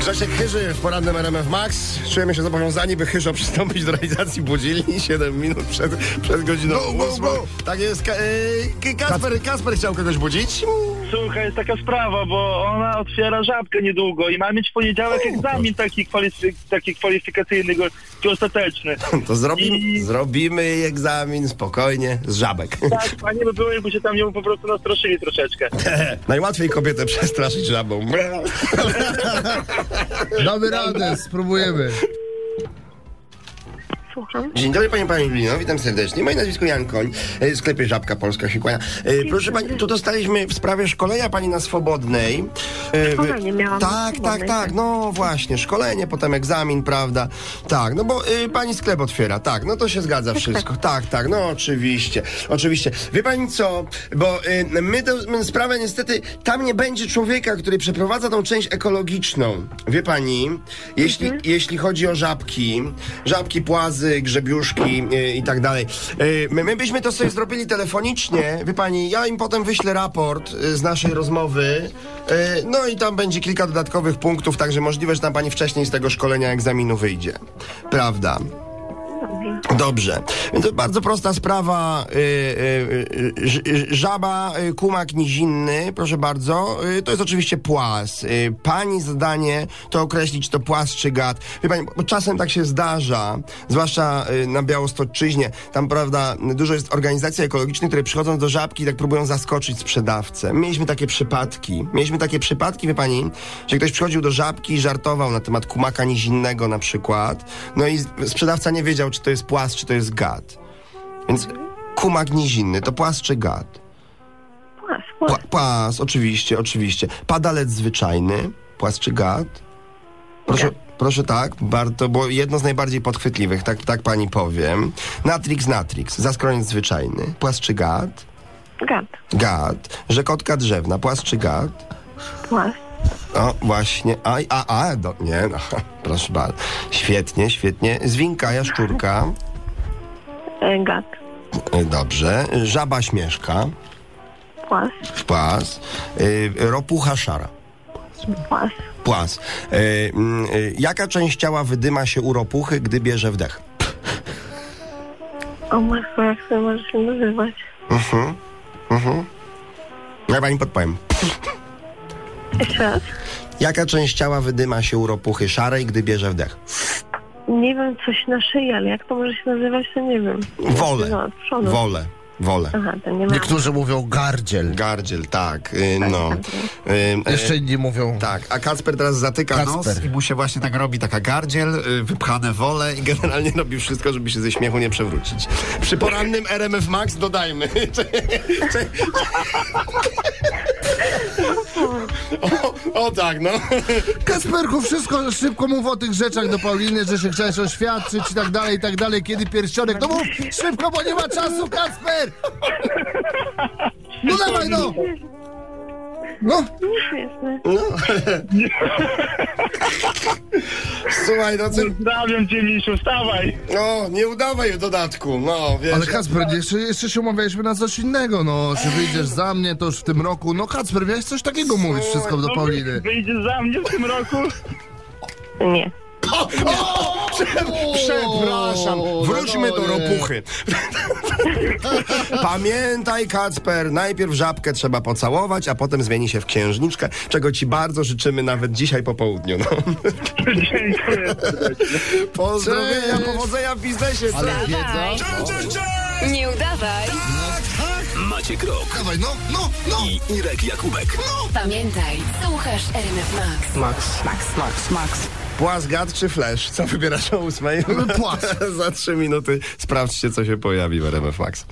Grzesiek Chyży w porannym RMF Max. Czujemy się zobowiązani, by Chyżo przystąpić do realizacji budzili 7 minut przed, przed godziną Go, go, 8. go. Tak jest. Ka- y- Kasper, Kasper chciał kogoś budzić. Słuchaj, jest taka sprawa, bo ona otwiera żabkę niedługo i ma mieć w poniedziałek egzamin taki, kwalifik- taki kwalifikacyjny go- czy ostateczny. To zrobimy, I- zrobimy egzamin spokojnie z żabek. Tak, fajnie by było, jakby się tam nią po prostu nastraszyli troszeczkę. Najłatwiej kobietę przestraszyć żabą. Damy radę, spróbujemy. Słucham. Dzień dobry Pani Paulino, witam serdecznie. Moje nazwisko Jan Koń, e, w sklepie Żabka Polska się kłania. E, Proszę Pani, tu dostaliśmy w sprawie szkolenia Pani na Swobodnej. E, Szkolenie miałam na Tak, tak, Swobodnej, tak, tak. no właśnie, szkolenie, potem egzamin, prawda? Tak, no bo e, Pani sklep otwiera, tak, no to się zgadza wszystko. Tak, tak, no oczywiście, oczywiście. Wie Pani co, bo e, my tę m, sprawę niestety, tam nie będzie człowieka, który przeprowadza tą część ekologiczną. Wie Pani, jeśli, Mhm. jeśli chodzi o żabki, żabki, płazy, grzebiuszki e, i tak dalej. E, my, my byśmy to sobie zrobili telefonicznie, wie Pani, ja im potem wyślę raport e, z naszej rozmowy, e, no i tam będzie kilka dodatkowych punktów, także możliwe, że tam Pani wcześniej z tego szkolenia egzaminu wyjdzie. Prawda. Dobrze. Dobrze. Więc to bardzo prosta sprawa. Y, y, y, ż- y, żaba, y, kumak nizinny, proszę bardzo. Y, to jest oczywiście płas. Y, pani zadanie to określić, czy to płas czy gad. Wie pani, bo czasem tak się zdarza, zwłaszcza y, na Białostoczyźnie. Tam, prawda, dużo jest organizacji ekologicznych, które przychodzą do żabki i tak próbują zaskoczyć sprzedawcę. Mieliśmy takie przypadki. Mieliśmy takie przypadki, wie pani, że ktoś przychodził do żabki i żartował na temat kumaka nizinnego na przykład. No i sprzedawca nie wiedział, czy to jest płas, czy to jest gad. Więc kumak nizinny to płas czy gad? Płas, Pła, płas. płas, oczywiście, oczywiście. Padalec zwyczajny, płas czy gad? Proszę, Gad. proszę tak, bar- to było jedno z najbardziej podchwytliwych, tak, tak pani powiem. Natrix, Natrix, zaskroniec zwyczajny, płas czy gad? Gad. Gad. Rzekotka drzewna, płas czy gad? Płas. O, właśnie. A, a, a, do, nie, no, proszę bardzo. Świetnie, świetnie. Zwinka, jaszczurka. E, gad. Y, Dobrze. Y, Żaba śmieszka. Płas. Płas. Y, Ropucha szara. Płas. Płas. Y, mm, y, Jaka część ciała wydyma się u ropuchy, gdy bierze wdech? O matko, jak to możesz się nazywać? Ja pani podpowiem. Jeszcze raz. Jaka część ciała wydyma się u ropuchy szarej, gdy bierze wdech? Nie wiem, coś na szyi, ale jak to może się nazywać, to nie wiem. No, Wolę. od przodu. Wolę. Wolę. Aha, to nie ma. Niektórzy mówią gardziel. Gardziel, tak. y, No. tak. Y, y, Jeszcze inni mówią. Tak, a Kacper teraz zatyka nos Kacper. i mu się właśnie tak robi taka gardziel, y, wypchane wole i generalnie robi wszystko, żeby się ze śmiechu nie przewrócić. Przy porannym RMF Max dodajmy. Cze- cze- o, o tak, no. Kasperku, wszystko szybko mów o tych rzeczach do Pauliny, że się chciałeś oświadczyć i tak dalej, i tak dalej. Kiedy pierścionek? No mów szybko, bo nie ma czasu, Kasper! No dawaj, no! No, Nie jestem. Słuchaj, no, ty- Pozdrawiam cię, Misiu, wstawaj! no nie udawaj w dodatku, no wiesz. ale Kasper, jeszcze, jeszcze się umawialiśmy na coś innego, no. Czy wyjdziesz za mnie, to już w tym roku. No Kasper, miałeś coś takiego mówić wszystko do Pauliny. Wyjdziesz za mnie w tym roku? Nie. Przepraszam, O, wróćmy do no nie. ropuchy. Pamiętaj, Kacper, najpierw żabkę trzeba pocałować, a potem zmieni się w księżniczkę, czego ci bardzo życzymy nawet dzisiaj po południu. No. Dziękuję. Pozdrowienia, Cześć. powodzenia w biznesie. Ale wiedza... Nie udawaj. Maciek Rok Dawaj, no, no, no! i Irek Jakubek. Pamiętaj, słuchasz RMF Max. Max, Max, Max, Max. Płas, gad czy flash? Co wybierasz o ósmej? Płas. Za trzy minuty sprawdźcie, co się pojawi w RMF Max.